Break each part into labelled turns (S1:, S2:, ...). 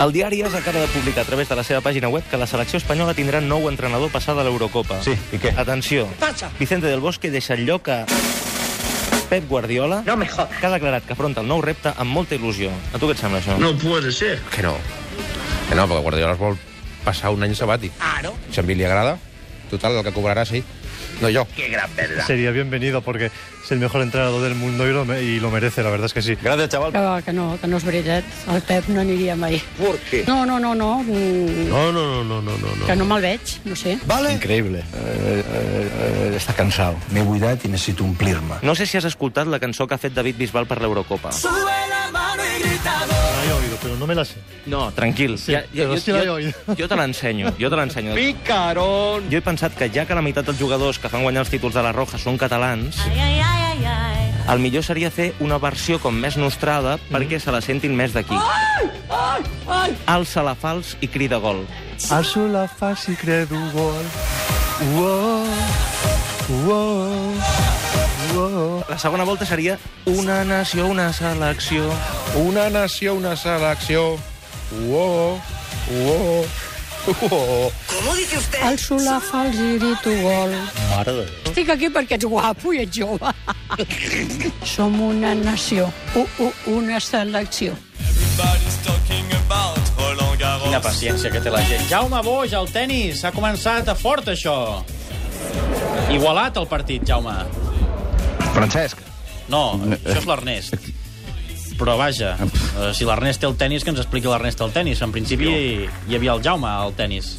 S1: El diari es acaba de publicar a través de la seva pàgina web que la selecció espanyola tindrà nou entrenador passada a l'Eurocopa.
S2: Sí, i què?
S1: Atenció.
S3: Passa.
S1: Vicente del Bosque deixa el lloc a Pep Guardiola,
S3: No me jodas.
S1: que ha declarat que afronta el nou repte amb molta il·lusió. A tu què et sembla, això?
S4: No puede ser.
S2: Que no. Que no, perquè Guardiola es vol passar un any sabàtic.
S3: Claro.
S2: Si a mi li agrada, total, el que cobrarà, sí. No jo.
S4: Qué gran verdad.
S5: Sería bienvenido porque es el mejor entrenador del mundo y lo, me- y lo merece, la verdad es que sí.
S2: Gràcies, xaval.
S6: Que va, que no, que no és veritat. El Pep no aniria mai.
S4: ¿Por qué?
S6: No, no, no, no. Mm,
S2: No, no, no, no, no, no.
S6: Que no me'l veig, no sé.
S7: Increíble. Eh, eh, eh, está cansado. Me he buidat i necessito omplir-me.
S1: No sé si has escoltat la cançó que ha fet David Bisbal per l'Eurocopa.
S5: La he oído, pero no me la sé.
S1: No, tranquil.
S5: Sí, però sí l'he oído.
S1: jo te l'ensenyo, jo te l'ensenyo.
S4: Picarón.
S1: Jo he pensat que ja que la meitat dels jugadors que fan guanyar els títols de la Roja són catalans, el millor seria fer una versió com més nostrada perquè se la sentin més d'aquí. Alça la fals i crida gol.
S5: Alço la fàcil credo gol. Uou, uou, uou.
S1: La segona volta seria una nació, una selecció.
S2: Una nació, una selecció. Uó, uó, uó.
S6: Alço la fals i grito gol.
S7: Mare de Déu.
S6: Estic aquí perquè ets guapo i ets jove. Som una nació, u, u, una selecció.
S8: Quina paciència que té la gent. Jaume Boix, al tennis. Ha començat a fort, això. Igualat el partit, Jaume.
S7: Francesc,
S8: No, això és l'Ernest.
S4: Eh,
S8: Però vaja,
S4: Ah,
S8: eh, si l'Ernest té el tennis, que ens expliqui l'Ernest el tennis. En principi hi havia el Jaume al tennis.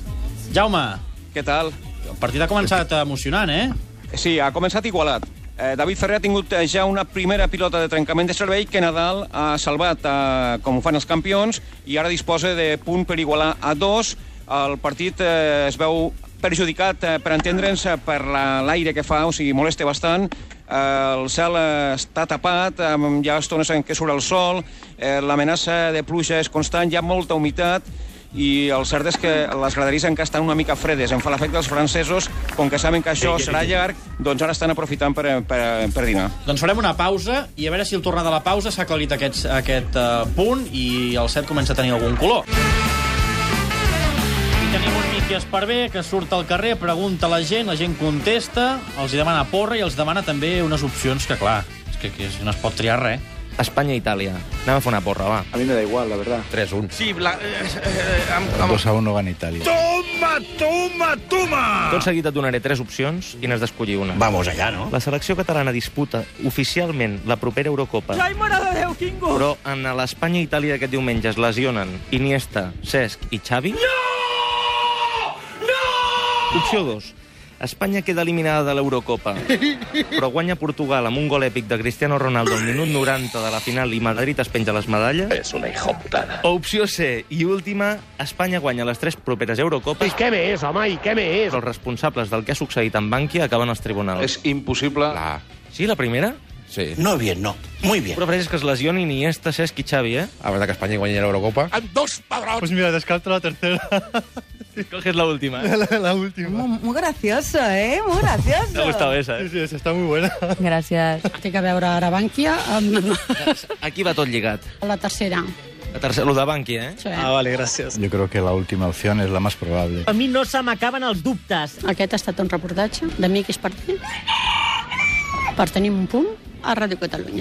S8: Jaume,
S9: Què tal?
S8: el partit ha començat emocionant, eh?
S9: Sí, ha començat igualat. Eh, David Ferrer ha tingut eh, ja una primera pilota de trencament de servei que Nadal ha salvat eh, com ho fan els campions i ara disposa de punt per igualar a dos. El partit eh, es veu perjudicat, eh, per entendre'ns, eh, per la- l'aire que fa, o sigui, molesta bastant. Eh, el cel eh, està tapat, eh, hi ha estones en què surt el sol, eh, l'amenaça de pluja és constant, hi ha molta humitat i el cert és que les graderies encara estan una mica fredes. Em fa l'efecte els francesos, com que saben que això serà llarg, doncs ara estan aprofitant per, per, per dinar.
S8: Doncs farem una pausa i a veure si al tornar de la pausa s'ha aclarit aquest, aquest uh, punt i el set comença a tenir algun color. I tenim un Miqui Esparvé que surt al carrer, pregunta a la gent, la gent contesta, els hi demana porra i els demana també unes opcions que, clar, és que, que no es pot triar res.
S1: Espanya i Itàlia. Anem a fer una porra, va.
S7: a mi me da igual, la verdad.
S2: 3-1.
S4: Sí, bla... eh, eh, amb-
S7: El 2 a 1 gana Italia.
S4: Toma, toma, toma!
S1: Tot seguit et donaré tres opcions i n'has d'escollir una.
S4: Vamos allá, ¿no?
S1: La selecció catalana disputa oficialment la propera Eurocopa. Ai, mare de Déu, quin gol! Però en l'Espanya i Itàlia d'aquest diumenge es lesionen Iniesta, Cesc i Xavi. No! No! Opció 2. Espanya queda eliminada de l'Eurocopa, però guanya Portugal amb un gol èpic de Cristiano Ronaldo al minut 90 de la final i Madrid es penja les medalles.
S4: Es una hijo putada.
S1: Opció C i última, Espanya guanya les tres properes Eurocopes,
S4: ¿Qué me es, Amai? ¿Qué me es?
S1: però els responsables del que ha succeït amb Bànquia acaben als tribunals.
S9: impossible.
S2: La...
S1: Sí, la primera?
S2: Ah, Sí.
S3: No bien, no. Muy bien.
S1: Però pareix que es lesioni Iniesta, Cesc i Xavi, eh?
S2: A veure Ah, que Espanya guanya l'Eurocopa.
S5: Pues mira, descarto la tercera,
S1: Coges la última, eh?
S5: la, la última.
S10: Muy gracioso, ¿eh? Muy gracioso.
S1: T'ha gustat esa,
S5: Sí,
S1: eh?
S5: sí, esa està muy buena.
S10: Gracias.
S6: Té a veure ara Bànquia amb
S1: Aquí va tot lligat.
S6: la tercera.
S1: La tercera, lo de Banqui, eh?
S6: Sí.
S4: Ah,
S8: vale, gràcies.
S7: Yo creo que la última opción es la más probable.
S3: A mi no se m'acaben els dubtes.
S6: Aquest ha estat un reportatge d'Amic Espartí per tenir un punt a Ràdio Catalunya.